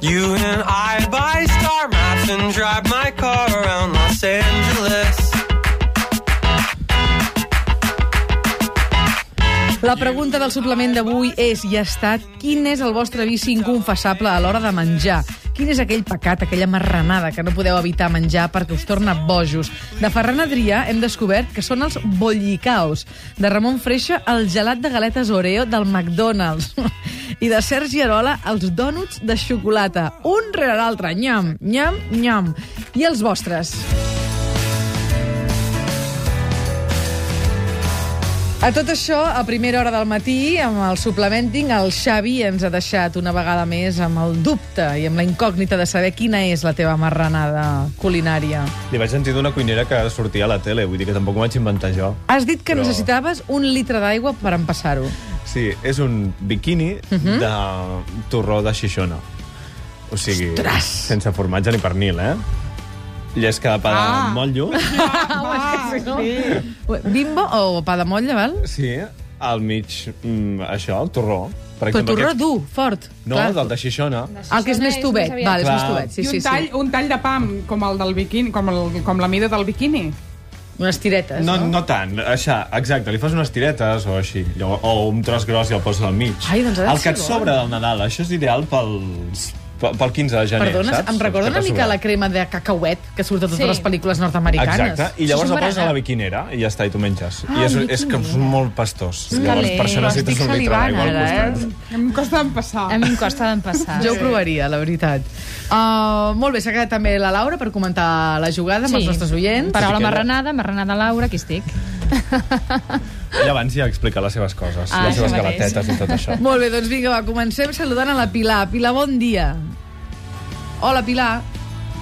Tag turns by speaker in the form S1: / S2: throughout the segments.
S1: You and I buy star maps and drive my car around Los Angeles.
S2: La pregunta del suplement d'avui és i ha estat quin és el vostre vici inconfessable a l'hora de menjar? Quin és aquell pecat, aquella marranada que no podeu evitar menjar perquè us torna bojos? De Ferran Adrià hem descobert que són els bollicaos. De Ramon Freixa, el gelat de galetes Oreo del McDonald's. I de Sergi Arola, els dònuts de xocolata. Un rere l'altre. Nyam, nyam, nyam. I els vostres? A tot això, a primera hora del matí, amb el suplementing, el Xavi ens ha deixat una vegada més amb el dubte i amb la incògnita de saber quina és la teva marranada culinària.
S3: Li vaig sentir d'una cuinera que sortia a la tele, vull dir que tampoc ho vaig inventar jo.
S2: Has dit que
S3: Però-
S2: necessitaves un litre d'aigua per empassar-ho.
S3: Sí, és un biquini
S2: Mhm.
S3: de torró de xixona. O sigui,
S2: Ostres!
S3: sense formatge ni pernil, eh? Llesca de pa
S4: Ah.
S3: de motllo.
S2: Ah, sí, no? Bimbo o pa de motlla, val?
S3: Sí, al mig, mm, això, el torró. Per
S2: Però torró
S3: aquest-
S2: dur, fort.
S3: No,
S2: clar.
S3: del de xixona.
S2: El que és més tubet, val, és
S3: Clar.
S2: més tubet. Sí,
S4: I un,
S2: sí,
S4: tall,
S2: sí.
S4: un tall de pam, com el del biquini, com, el, com la mida del biquini.
S2: Unes tiretes,
S3: No,
S2: no?
S3: no tant, això, exacte, li fas unes tiretes o així, Llavors- o un tros gros i el poses al mig.
S2: Ai, doncs ha de
S3: el que
S2: ser
S3: et
S2: bo.
S3: sobra del Nadal, això és ideal pels, pel pel 15 de gener,
S2: Perdona,
S3: saps?
S2: em recorda
S3: Saps
S2: una
S3: què
S2: mica
S3: t'ha
S2: la crema de cacauet que surt a totes
S5: Sí.
S2: les pel·lícules nord-americanes.
S3: Exacte, i llavors
S5: Això
S3: la
S5: és
S3: poses a
S5: berenar.
S3: la biquinera i ja està, i tu menges.
S2: Ah,
S3: I és,
S2: biquinera.
S3: és que és molt pastós.
S5: Mm.
S3: llavors, per
S5: Calent.
S3: això necessites
S5: Estic
S3: un litre
S5: salivant,
S3: d'aigua al
S5: ara,
S3: costat.
S4: Em costa d'empassar.
S5: A mi em costa
S6: Ah,
S5: d'empassar.
S2: Jo ho provaria, la veritat. Uh, molt bé, s'ha quedat també la Laura per comentar la jugada amb els nostres oients.
S5: Paraula
S3: Sí que-
S5: marranada, marranada Laura, aquí estic.
S3: Ella abans ja explica les seves coses,
S5: eh? Ah,
S3: les
S5: això
S3: seves
S5: mateix.
S3: galatetes i tot això.
S2: Molt bé, doncs vinga, va, comencem saludant a la Pilar. Pilar, bon dia. Hola, Pilar.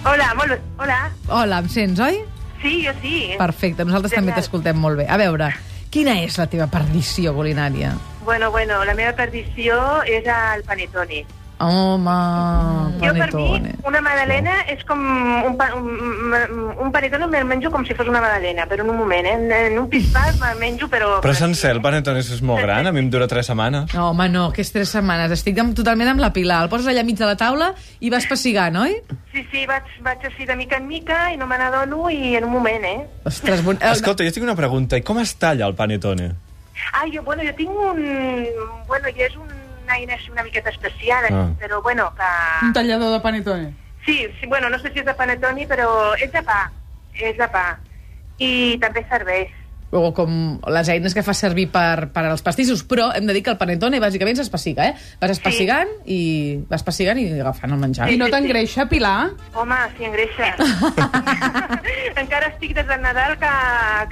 S6: Hola, molt bé. Hola.
S2: Hola, em sents, oi?
S6: Sí, jo sí.
S2: Perfecte, nosaltres també t'escoltem molt bé. A veure, quina és la teva perdició culinària?
S6: Bueno, bueno, la meva perdició és el panetone.
S2: Home,
S6: Jo, per mi,
S2: panetone.
S6: una magdalena és com... Un, pa, un, un- un panetone me'l menjo com si fos una magdalena, però en un moment, eh? En- En un pispàs me'l menjo, però...
S3: Però sencer, el panetones és molt gran, a mi em dura 3 setmanes.
S2: No, home, no, que és tres setmanes. Estic amb, totalment amb la Pilar. El poses allà mig de la taula i vas pessigant, oi?
S6: Sí, sí, vaig, vaig així de mica en mica i no me n'adono i en un moment, eh?
S2: Ostres, bon... eh,
S3: Escolta, jo tinc una pregunta, i com es talla el panetone?
S6: Ah, jo, bueno, jo tinc un... Bueno, jo és una eina així una miqueta especial,
S3: Ah.
S6: ah. però bueno, que...
S4: Un tallador de panetone.
S6: Sí, sí, bueno, no sé si és de panetoni, però és de pa, és de pa. I també serveix.
S2: o com les eines que fa servir per, per als pastissos, però hem de dir que el panetone bàsicament s'espassiga, eh? Vas espassigant i vas espassigant i agafant el menjar.
S4: I no t'engreixa, Pilar?
S6: Home, si engreixa. Encara estic des del Nadal que,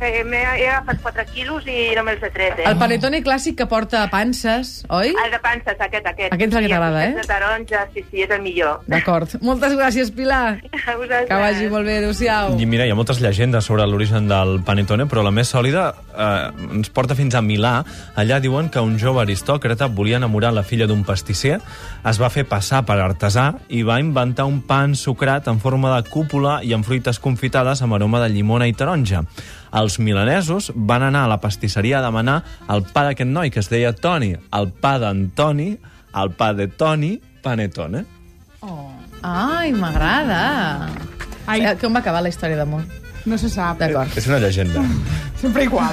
S6: que m'he he agafat 4 quilos i no me'ls he tret, eh?
S2: El panetone clàssic que porta panses, oi?
S6: El de panses, aquest, aquest.
S2: Aquest és el que
S6: Sí,
S2: t'agrada,
S6: aquest
S2: eh?
S6: De taronja, sí, sí, és el millor.
S2: D'acord. Moltes gràcies, Pilar.
S6: A vosaltres.
S2: Que vagi molt bé. Adéu-siau.
S3: I mira, hi ha moltes llegendes sobre l'origen del panetone, però la més sòlida eh, ens porta fins a Milà. Allà diuen que un jove aristòcrata volia enamorar la filla d'un pastisser, es va fer passar per artesà i va inventar un pa ensucrat en forma de cúpula i amb fruites confitades amb aroma de llimona i taronja. Els milanesos van anar a la pastisseria a demanar el pa d'aquest noi, que es deia Toni, el pa d'Antoni, el pa de Toni, panetone.
S2: Ai, m'agrada.
S4: Ai.
S2: Eh, Com va acabar la història d'amor?
S4: No se sap.
S2: D'acord.
S3: És una llegenda.
S4: Sempre igual.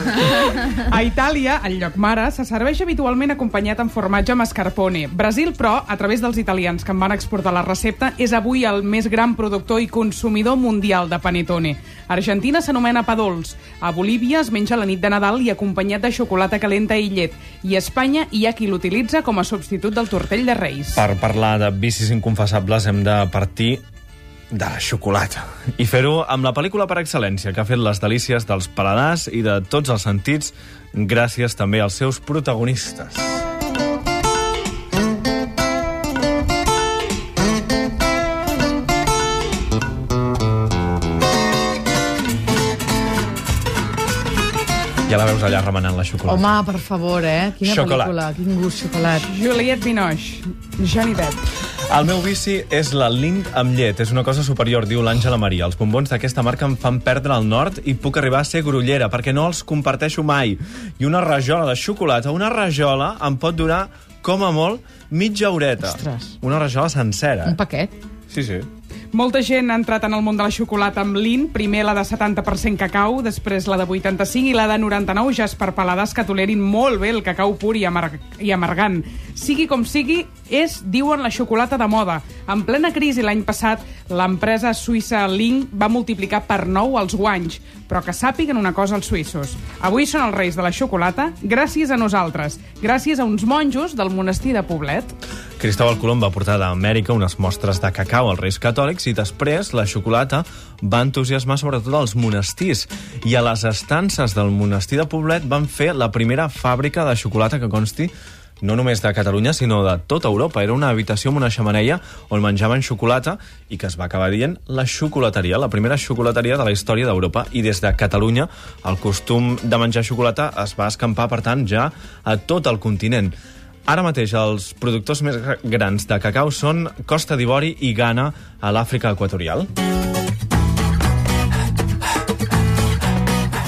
S4: A Itàlia, el lloc mare, se serveix habitualment acompanyat amb formatge mascarpone. Brasil, però, a través dels italians que en van exportar la recepta, és avui el més gran productor i consumidor mundial de panetone. A Argentina s'anomena pa dolç. A Bolívia es menja la nit de Nadal i acompanyat de xocolata calenta i llet. I a Espanya hi ha qui l'utilitza com a substitut del tortell de Reis.
S3: Per parlar de vicis inconfessables hem de partir de la xocolata. I fer-ho amb la pel·lícula per excel·lència, que ha fet les delícies dels paladars i de tots els sentits, gràcies també als seus protagonistes. Ja la veus allà remenant la xocolata.
S2: Home, per favor, eh? Quina
S3: Xocolat.
S2: pel·lícula, quin gust xocolat.
S4: Juliette Binoche, Johnny Depp.
S3: El meu vici és la Lind amb llet. És una cosa superior, diu l'Àngela Maria. Els bombons d'aquesta marca em fan perdre el nord i puc arribar a ser grollera, perquè no els comparteixo mai. I una rajola de xocolata, una rajola, em pot durar com a molt, mitja horeta.
S2: Ostres.
S3: Una rajola sencera. eh?
S2: Un paquet.
S3: Sí, sí.
S4: Molta gent ha entrat en el món de la xocolata amb l'IN, primer la de 70% cacau, després la de 85 i la de 99, ja és per paladars que tolerin molt bé el cacau pur i, amar i amargant. Sigui com sigui, és, diuen, la xocolata de moda. En plena crisi l'any passat, l'empresa suïssa Link va multiplicar per 9 els guanys, però que sàpiguen una cosa els suïssos. Avui són els reis de la xocolata gràcies a nosaltres, gràcies a uns monjos del monestir de Poblet.
S3: Cristóbal Colom va portar d'Amèrica unes mostres de cacau als Reis Catòlics i després la xocolata va entusiasmar sobretot els monestirs i a les estances del monestir de Poblet van fer la primera fàbrica de xocolata que consti no només de Catalunya, sinó de tota Europa. Era una habitació amb una xamaneia on menjaven xocolata i que es va acabar dient la xocolateria, la primera xocolateria de la història d'Europa. I des de Catalunya el costum de menjar xocolata es va escampar, per tant, ja a tot el continent. Ara mateix els productors més gra- grans de cacau són Costa d'Ivori i Ghana a l'Àfrica Equatorial.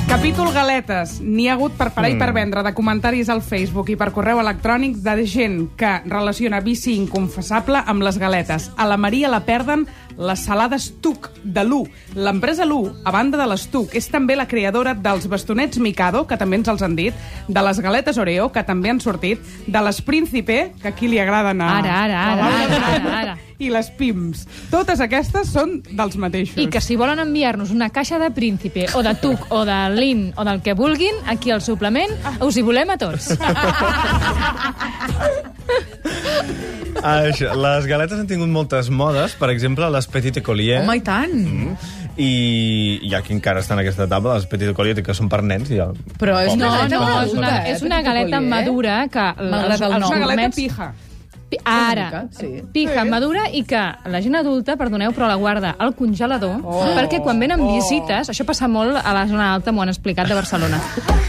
S4: Capítol Galetes. N'hi ha hagut per parar i per vendre de comentaris al Facebook i per correu electrònic de gent que relaciona vici inconfessable amb les galetes. A la Maria la perden les salades Tuc, de l'U. L'empresa l'U, a banda de les Tuc, és també la creadora dels bastonets Mikado, que també ens els han dit, de les galetes Oreo, que també han sortit, de les Príncipe, que aquí li agraden a...
S5: Ara, ara, ara,
S4: a Laura,
S5: ara, ara, ara.
S4: I les Pims. Totes aquestes són dels mateixos.
S5: I que si volen enviar-nos una caixa de príncipe, o de tuc, o de lin, o del que vulguin, aquí al suplement
S2: Ah.
S5: us hi volem a tots.
S3: Això, les galetes han tingut moltes modes, per exemple, les Petit Ecolier.
S2: Home, i tant. Mm.
S3: I, i aquí encara està en aquesta etapa, les Petit Ecolier, que són per nens. I el...
S2: Però és
S3: Pobre.
S5: No,
S2: una
S5: no, és una,
S2: galeta
S5: és una galeta
S2: Petit Collier.
S5: madura que...
S2: eh? Malgrat el
S5: els
S2: nom.
S4: Una galeta
S5: gourmets-
S4: pija.
S5: Pi- Ara,
S2: mica, sí.
S5: pija madura i que la gent adulta, perdoneu, però la guarda al congelador, oh, perquè quan venen oh. visites, això passa molt a la zona alta, m'ho han explicat, de Barcelona,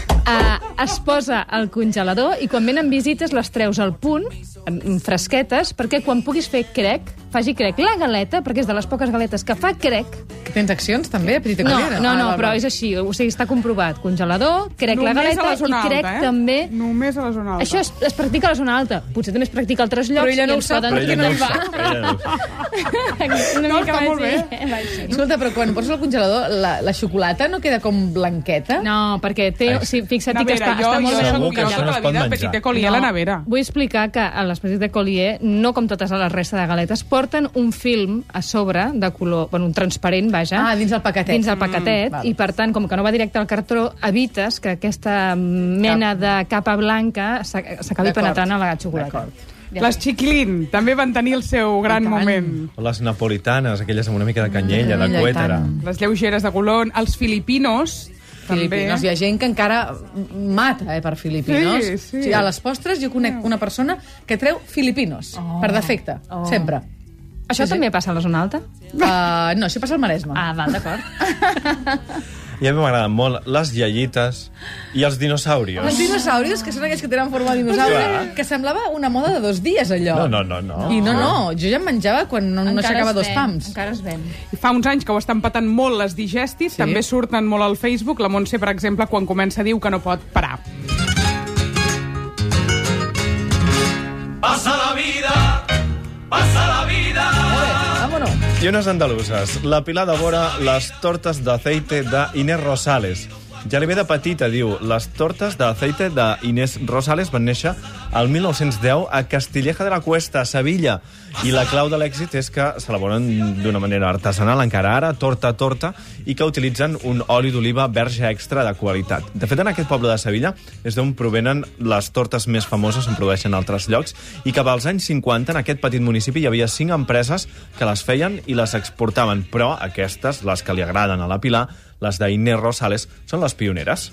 S5: uh, es posa al congelador i quan venen visites les treus al punt, mm, fresquetes, perquè quan puguis fer crec, faci crec la galeta, perquè és de les poques galetes que fa crec.
S2: Que Tens accions, també, a Petita
S5: No,
S2: Collier?
S5: no, no,
S2: Ah, val,
S5: però
S2: val.
S5: és així, o sigui, està comprovat. Congelador, crec la galeta i crec
S2: eh?
S5: també...
S4: eh? Només a la zona alta.
S5: Això es, es practica a la zona alta. Potser també es practica a altres llocs.
S2: ella
S5: i
S2: no ho
S5: ens
S2: sap
S5: poden-
S2: perquè
S3: ella
S2: no
S3: ho
S2: hi va.
S3: sap, ella no ho sap.
S5: Una
S4: No,
S5: mica
S4: està
S5: vaig
S4: molt bé.
S5: dir- eh, vaig dir.
S2: Escolta, però quan poses al congelador, la, la xocolata no queda com blanqueta?
S5: No, perquè té...
S3: Ai.
S5: Sí, fixa't
S4: Nevera,
S5: que està,
S4: jo,
S5: està molt
S4: jo
S5: bé.
S4: sóc
S3: Segur que
S4: jo
S3: això
S4: tota
S3: no
S4: la
S3: es pot
S4: vida,
S3: menjar.
S4: Petit Collier a la nevera.
S5: Vull explicar que a les petites de Collier, no com totes les restes de galetes, porten un film a sobre de color, bueno, un transparent, vaja.
S2: Ah, dins el paquetet.
S5: Dins el paquetet,
S2: Mm, val.
S5: i per tant, com que no va directe al cartró, evites que aquesta mena de capa blanca s'ac- s'acabi
S2: D'acord.
S5: penetrant a la xocolata.
S2: D'acord.
S4: Les Chiquilín també van tenir el seu gran
S2: tant.
S4: moment.
S3: O les napolitanes, aquelles amb una mica de canyella,
S2: Mm, i
S3: de
S2: tant.
S3: cuètera.
S4: Les Lleugeres de Colón, els Filipinos, també.
S2: Filipinos. Hi ha gent que encara mata eh, per filipinos.
S4: Sí, sí.
S2: O sigui, A les postres jo conec una persona que treu filipinos, oh. per defecte, oh. sempre.
S5: Això també passa a la zona alta?
S2: Uh, no, això passa al Maresme.
S5: Ah, val, d'acord.
S3: I a mi m'agraden molt les iaietes i els
S2: Els
S3: dinosaurios.
S2: dinosaures, que són aquells que tenen forma de dinosaure,
S3: Clar.
S2: que semblava una moda de dos dies, allò.
S3: No, no, no, no.
S2: I no, no, jo ja em menjava quan no, no
S5: Encara
S2: s'acaba
S5: es
S2: dos
S5: ven,
S2: pams.
S5: Encara es ven.
S4: Fa uns anys que ho estan patant molt les digestis, sí. també surten molt al Facebook. La Montse, per exemple, quan comença diu que no pot parar.
S1: Pasa la vida, pasa la vida.
S2: Vámonos.
S3: I unes andaluses. La Pilar devora les tortes d'aceite d'Inés Rosales. Ja li ve de petita, diu. Les tortes d'aceite d'Inés Rosales van néixer al 1910 a Castilleja de la Cuesta, a Sevilla. I la clau de l'èxit és que s'elaboren d'una manera artesanal encara ara, torta a torta, i que utilitzen un oli d'oliva verge extra de qualitat. De fet, en aquest poble de Sevilla és d'on provenen les tortes més famoses, en produeixen a altres llocs, i cap als anys 50 en aquest petit municipi hi havia cinc empreses que les feien i les exportaven, però aquestes, les que li agraden a la Pilar, les d'Inés Rosales, són les pioneres.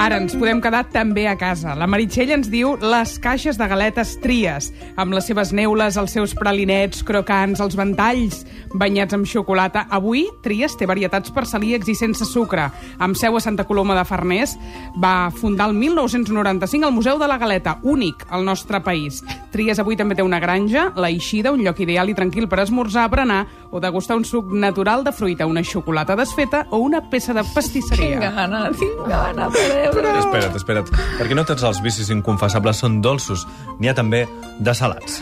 S4: Ara ens podem quedar també a casa. La Meritxell ens diu les caixes de galetes tries, amb les seves neules, els seus pralinets, crocants, els ventalls. banyats amb xocolata. Avui, Tries té varietats per celíacs i sense sucre. Amb seu a Santa Coloma de Farners, va fundar el 1995 el Museu de la Galeta, únic al nostre país. Tries avui també té una granja, la Eixida, un lloc ideal i tranquil per esmorzar, berenar o degustar un suc natural de fruita, una xocolata desfeta o una peça de pastisseria.
S2: Tinc gana, tinc gana, però...
S3: Espera't, espera't, perquè no tots els vicis inconfessables són dolços, n'hi ha també de salats.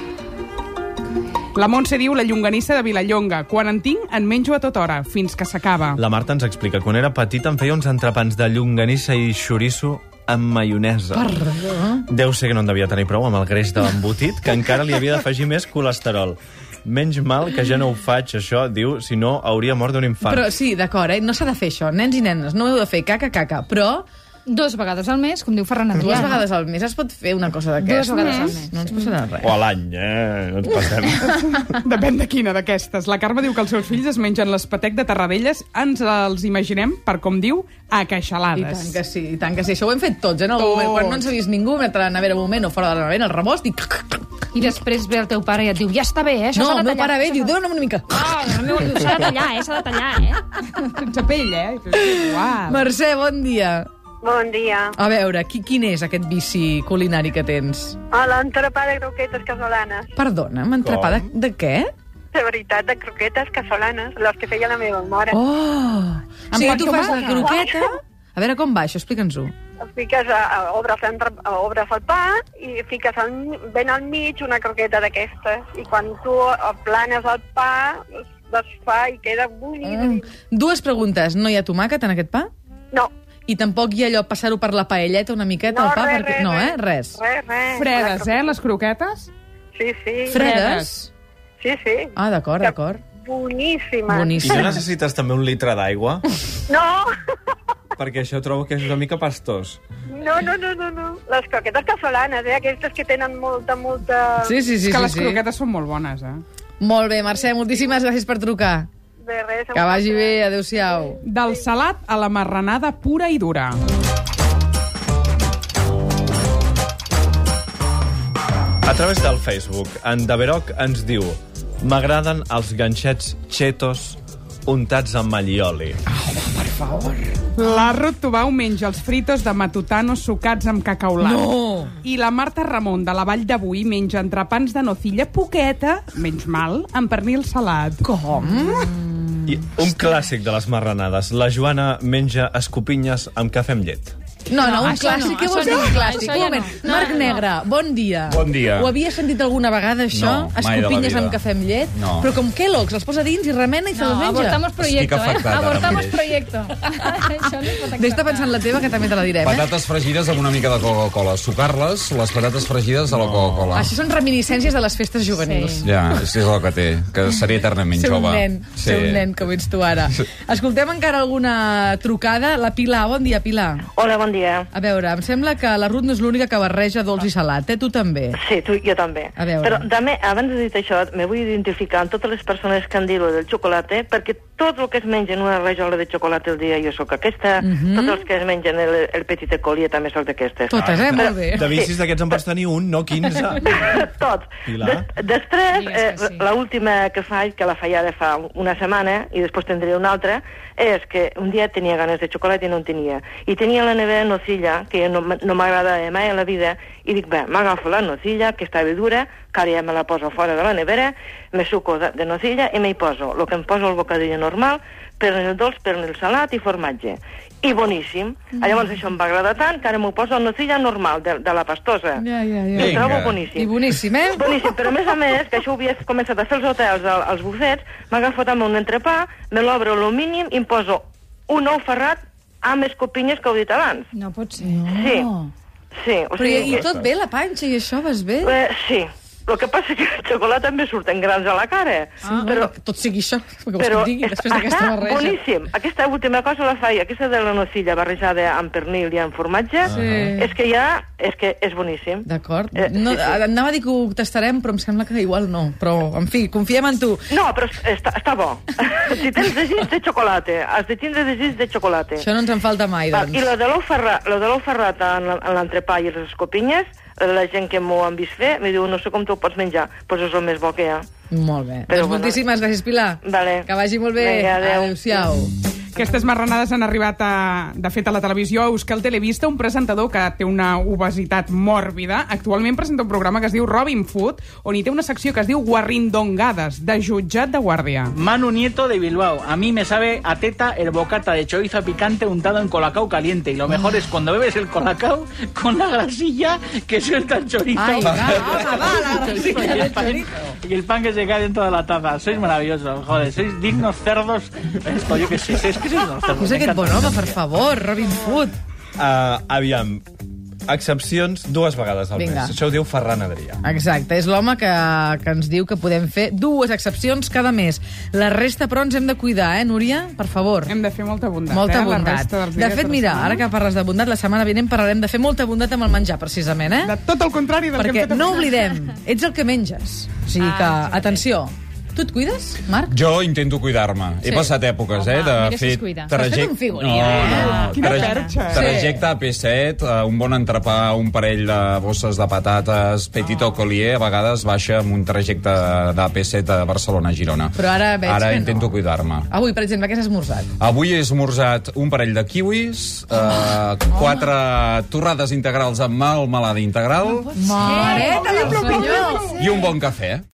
S4: La Montse diu la llonganissa de Vilallonga. Quan en tinc, en menjo a tota hora, fins que s'acaba.
S3: La Marta ens explica, quan era petita em feia uns entrepans de llonganissa i xoriço amb maionesa.
S2: Perdó.
S3: Deu ser que no en devia tenir prou amb el greix de l'embotit, que encara li havia d'afegir més colesterol. Menys mal que ja no ho faig, això, diu, si no hauria mort d'un infant.
S2: Però sí, d'acord, eh? no s'ha de fer això, nens i nenes, no heu de fer caca, caca, però
S5: Dos vegades al mes, com diu Ferran
S2: dues
S5: Adrià.
S2: vegades al mes es pot fer una cosa d'aquestes. Mm.
S5: Dues vegades al mes,
S2: No ens passarà
S3: O
S2: res.
S3: a l'any, eh? No ens passem.
S4: Depèn de quina d'aquestes. La Carme diu que els seus fills es mengen l'espatec de Tarradellas. Ens els imaginem, per com diu, a
S2: I tant
S4: queixalades.
S2: que sí, i tant que sí. Això ho hem fet tots, eh? En el
S4: Tots.
S2: moment, quan no ens ha vist ningú, metre la nevera un moment o fora de la nevera, el rebost, i...
S5: I després ve el teu pare i et diu, ja està bé, eh? Això
S2: No,
S5: s'ha de
S2: el meu
S5: tallar,
S2: pare ve i
S5: això
S2: diu,
S5: s'ha de-
S2: dóna'm una mica.
S5: Ah, el meu diu, s'ha de tallar, eh? S'ha de tallar, eh?
S4: Sense pell, eh? Uau.
S2: Ah! Mercè, bon dia.
S6: Bon dia.
S2: A veure, qui, quin és aquest vici culinari que tens?
S6: A l'entrepà de croquetes casolanes.
S2: Perdona, m'entrepà de, de què?
S6: De veritat, de croquetes casolanes, les que feia la meva mare.
S2: Oh! O sigui,
S4: pot
S2: tu fas la
S4: tomàquet.
S2: croqueta... A veure com va això, explica'ns-ho.
S6: Fiques, a, a, obres, entre, a, obres el pa i fiques al, mi- ben al mig una croqueta d'aquestes. I quan tu planes el pa, es desfà i queda bullida.
S2: Mm. Dues preguntes. No hi ha tomàquet en aquest pa?
S6: No,
S2: I tampoc hi ha allò passar-ho per la paelleta una miqueta,
S6: no,
S2: el pa?
S6: res,
S2: perquè...
S6: res,
S2: no, eh? Res.
S6: Res, res.
S4: Fredes, eh, les croquetes?
S6: Sí, sí.
S2: Fredes?
S6: Sí, sí.
S2: Ah, d'acord,
S6: Que
S2: d'acord.
S6: Boníssima.
S3: I no
S2: Boníssim.
S3: necessites també un litre d'aigua?
S6: No,
S3: Perquè això trobo que és una mica pastós.
S6: no, no, no, no, no. Les croquetes casolanes, eh? Aquestes que tenen molta, molta...
S2: Sí, sí, sí.
S4: És que les
S2: sí, sí.
S4: croquetes són molt bones, eh?
S2: Molt bé, Mercè, moltíssimes gràcies per trucar.
S6: De res.
S2: Que vagi bé, adeu-siau.
S4: Del salat a la marranada pura i dura.
S3: A través del Facebook, en Daveroc ens diu M'agraden els ganxets xetos untats amb allioli.
S4: La Ruth Tubau menja els fritos de matutano sucats amb cacaulat.
S2: No!
S4: I la Marta Ramon, de la Vall d'Avui, menja entrepans de nocilla poqueta, menys mal, amb pernil salat.
S2: Com?
S3: I un clàssic de les marranades. La Joana menja escopinyes amb cafè amb llet.
S2: No, no, un
S5: això
S2: clàssic.
S5: no,
S2: Què vols
S5: això
S2: dir
S5: no,
S2: un clàssic?
S5: això
S2: Un
S5: ja
S2: moment.
S5: no. No,
S2: Marc
S5: no, no.
S2: Negre, bon dia.
S7: Bon dia.
S2: Ho havies sentit alguna vegada, això?
S7: No, mai de la
S2: Escopinyes
S7: vida.
S2: amb cafè amb llet?
S7: No.
S2: Però com Kellogg's, els posa a dins i remena i se
S5: No,
S2: les menja?
S5: abortamos proyecto, eh?
S7: afectat ara
S5: Abortamos
S7: mateix.
S5: proyecto. Això no es
S2: Deix
S5: pot
S2: de
S5: acceptar.
S2: pensar en la teva, que també te la direm, eh?
S7: Patates fregides amb una mica de Coca-Cola. Sucar-les, les patates fregides a la Coca-Cola.
S2: Això són reminiscències de les festes juvenils.
S7: Ja, és que és el que té, que seré eternament
S2: Ser un
S7: jove.
S2: nen, ser un nen, com ets tu ara. Escoltem encara alguna trucada. La Pilar, bon dia, Pilar.
S6: Hola, bon dia.
S2: A veure, em sembla que la Ruth no és l'única que barreja dolç i salat, eh? Tu també.
S8: Sí, tu, jo també.
S2: A veure.
S8: Però també, abans de dir això, me vull identificar amb totes les persones que han dit lo del xocolata, perquè tot el que es menja en una rajola de xocolata el dia jo sóc aquesta, mm
S2: Mhm.
S8: -hmm. tots els que es mengen el, el petit ecolia també sóc d'aquestes.
S2: Totes, eh? Molt bé.
S3: Ah. De vicis d'aquests en pots tenir un, no 15.
S8: Tots.
S3: Pilar?
S8: Des, després, eh,
S5: Digues que sí.
S8: la última que faig, que la faig ara fa una setmana, i després tindré una altra, és que un dia tenia ganes de xocolata i no en tenia. I tenia la nevera nocilla, que no, m- no m'agrada mai a la vida, i dic, bé, m'agafo la nocilla, que estava dura, que ara ja me la poso fora de la nevera, me suco de, de nocilla i me hi poso. El que em poso el bocadillo normal, pernil dolç, pernil salat i formatge. I boníssim. Mm. Llavors això em va agradar tant que ara m'ho poso a nocilla normal, de, de la pastosa.
S2: Ja, ja, ja.
S8: Ho trobo
S7: Vinga.
S8: boníssim.
S2: I boníssim, eh?
S8: Boníssim, però a més a més, que això ho havia començat a fer als hotels, al- als bufets, m'agafo també un entrepà, me l'obro lo mínim i em poso un ou ferrat amb escopinyes que heu dit abans.
S5: No pot ser.
S8: Sí,
S2: Oh.
S8: sí. O
S2: Però i,
S8: sigui,
S2: i tot bé, la panxa i això, vas bé?
S8: eh, sí, el que passa és que el xocolat també surten grans a la cara.
S2: Ah,
S8: però
S2: Tot sigui això, que vols
S8: però
S2: que et digui, després d'aquesta
S8: està
S2: barreja.
S8: boníssim. Aquesta última cosa la faig, aquesta de la nocilla barrejada amb pernil i amb formatge,
S2: Ah.
S8: sí. és que ja és, que és boníssim.
S2: D'acord.
S8: Eh,
S2: No,
S8: sí, sí.
S2: anava a dir que ho tastarem, però em sembla que igual no. Però, en fi, confiem en tu.
S8: No, però es- està, està bo. si tens desig de xocolata, has de tindre desig de xocolata.
S2: Això no ens en falta mai,
S8: Val, I
S2: doncs.
S8: lo de l'ou ferrat, lo de l'ou ferrat en, en l'entrepà i les escopinyes, la gent que m'ho han vist fer, em diu, no sé com t'ho pots menjar, però és el més bo que hi ha.
S2: Molt bé.
S8: Però
S2: doncs
S8: bueno.
S2: moltíssimes gràcies, Pilar.
S8: Vale.
S2: Que vagi molt bé.
S8: Vinga, adéu.
S2: Adéu-siau.
S4: Aquestes marranades han arribat, a, de fet, a la televisió a Euskal Televista, un presentador que té una obesitat mòrbida. Actualment presenta un programa que es diu Robin Food, on hi té una secció que es diu Guarrindongades, de jutjat de guàrdia.
S9: Manu Nieto de Bilbao. A mí me sabe a teta el bocata de chorizo picante untado en colacao caliente. Y lo mejor es cuando bebes el colacao con la grasilla que suelta el chorizo.
S2: Ai, va, va, va, la
S9: Sí,
S2: grasilla
S9: y, el
S2: del
S9: pan,
S2: chorizo.
S9: y el pan que se cae dentro de la taza. Sois maravillosos, joder. Sois dignos cerdos. Esto, yo qué sé. Es que sois unos cerdos.
S2: Què és
S9: me
S2: aquest
S9: encanta.
S2: bon home, per favor, Robin Hood?
S3: Uh, aviam, excepcions dues vegades al
S2: Vinga.
S3: mes. Això ho diu Ferran Adrià.
S2: Exacte, és l'home que, que ens diu que podem fer dues excepcions cada mes. La resta, però, ens hem de cuidar, eh, Núria? Per favor.
S4: Hem de fer molta bondat.
S2: Molta
S4: eh? la
S2: bondat.
S4: resta dels
S2: De
S4: dies
S2: fet, mira,
S4: setmana.
S2: ara que parles de bondat, la setmana vinent parlarem de fer molta bondat amb el menjar, precisament, eh?
S4: De tot el Ah, contrari del que
S2: Perquè
S4: hem fet
S2: no oblidem, ets el que menges. O sigui que, atenció, tu et cuides, Marc?
S7: Jo intento cuidar-me. He
S2: Sí.
S7: passat èpoques,
S5: Home,
S7: eh,
S5: mira si
S7: de
S5: es cuida.
S7: fer...
S5: T'has
S2: fet un figurí, eh?
S4: Quina perxa, eh?
S7: Trajecte a P7, eh, un bon entrepà, un parell de bosses de patates,
S2: Ah.
S7: petit oh. colier, a vegades baixa amb un trajecte de P7 a Barcelona, Girona.
S2: Però ara veig
S7: Ara
S2: que no.
S7: intento cuidar-me.
S2: Avui, per exemple, què has esmorzat?
S7: Avui he esmorzat un parell de kiwis,
S2: Ah.
S7: eh, quatre torrades integrals amb melmelada integral
S2: Mareta, la
S7: i un bon cafè.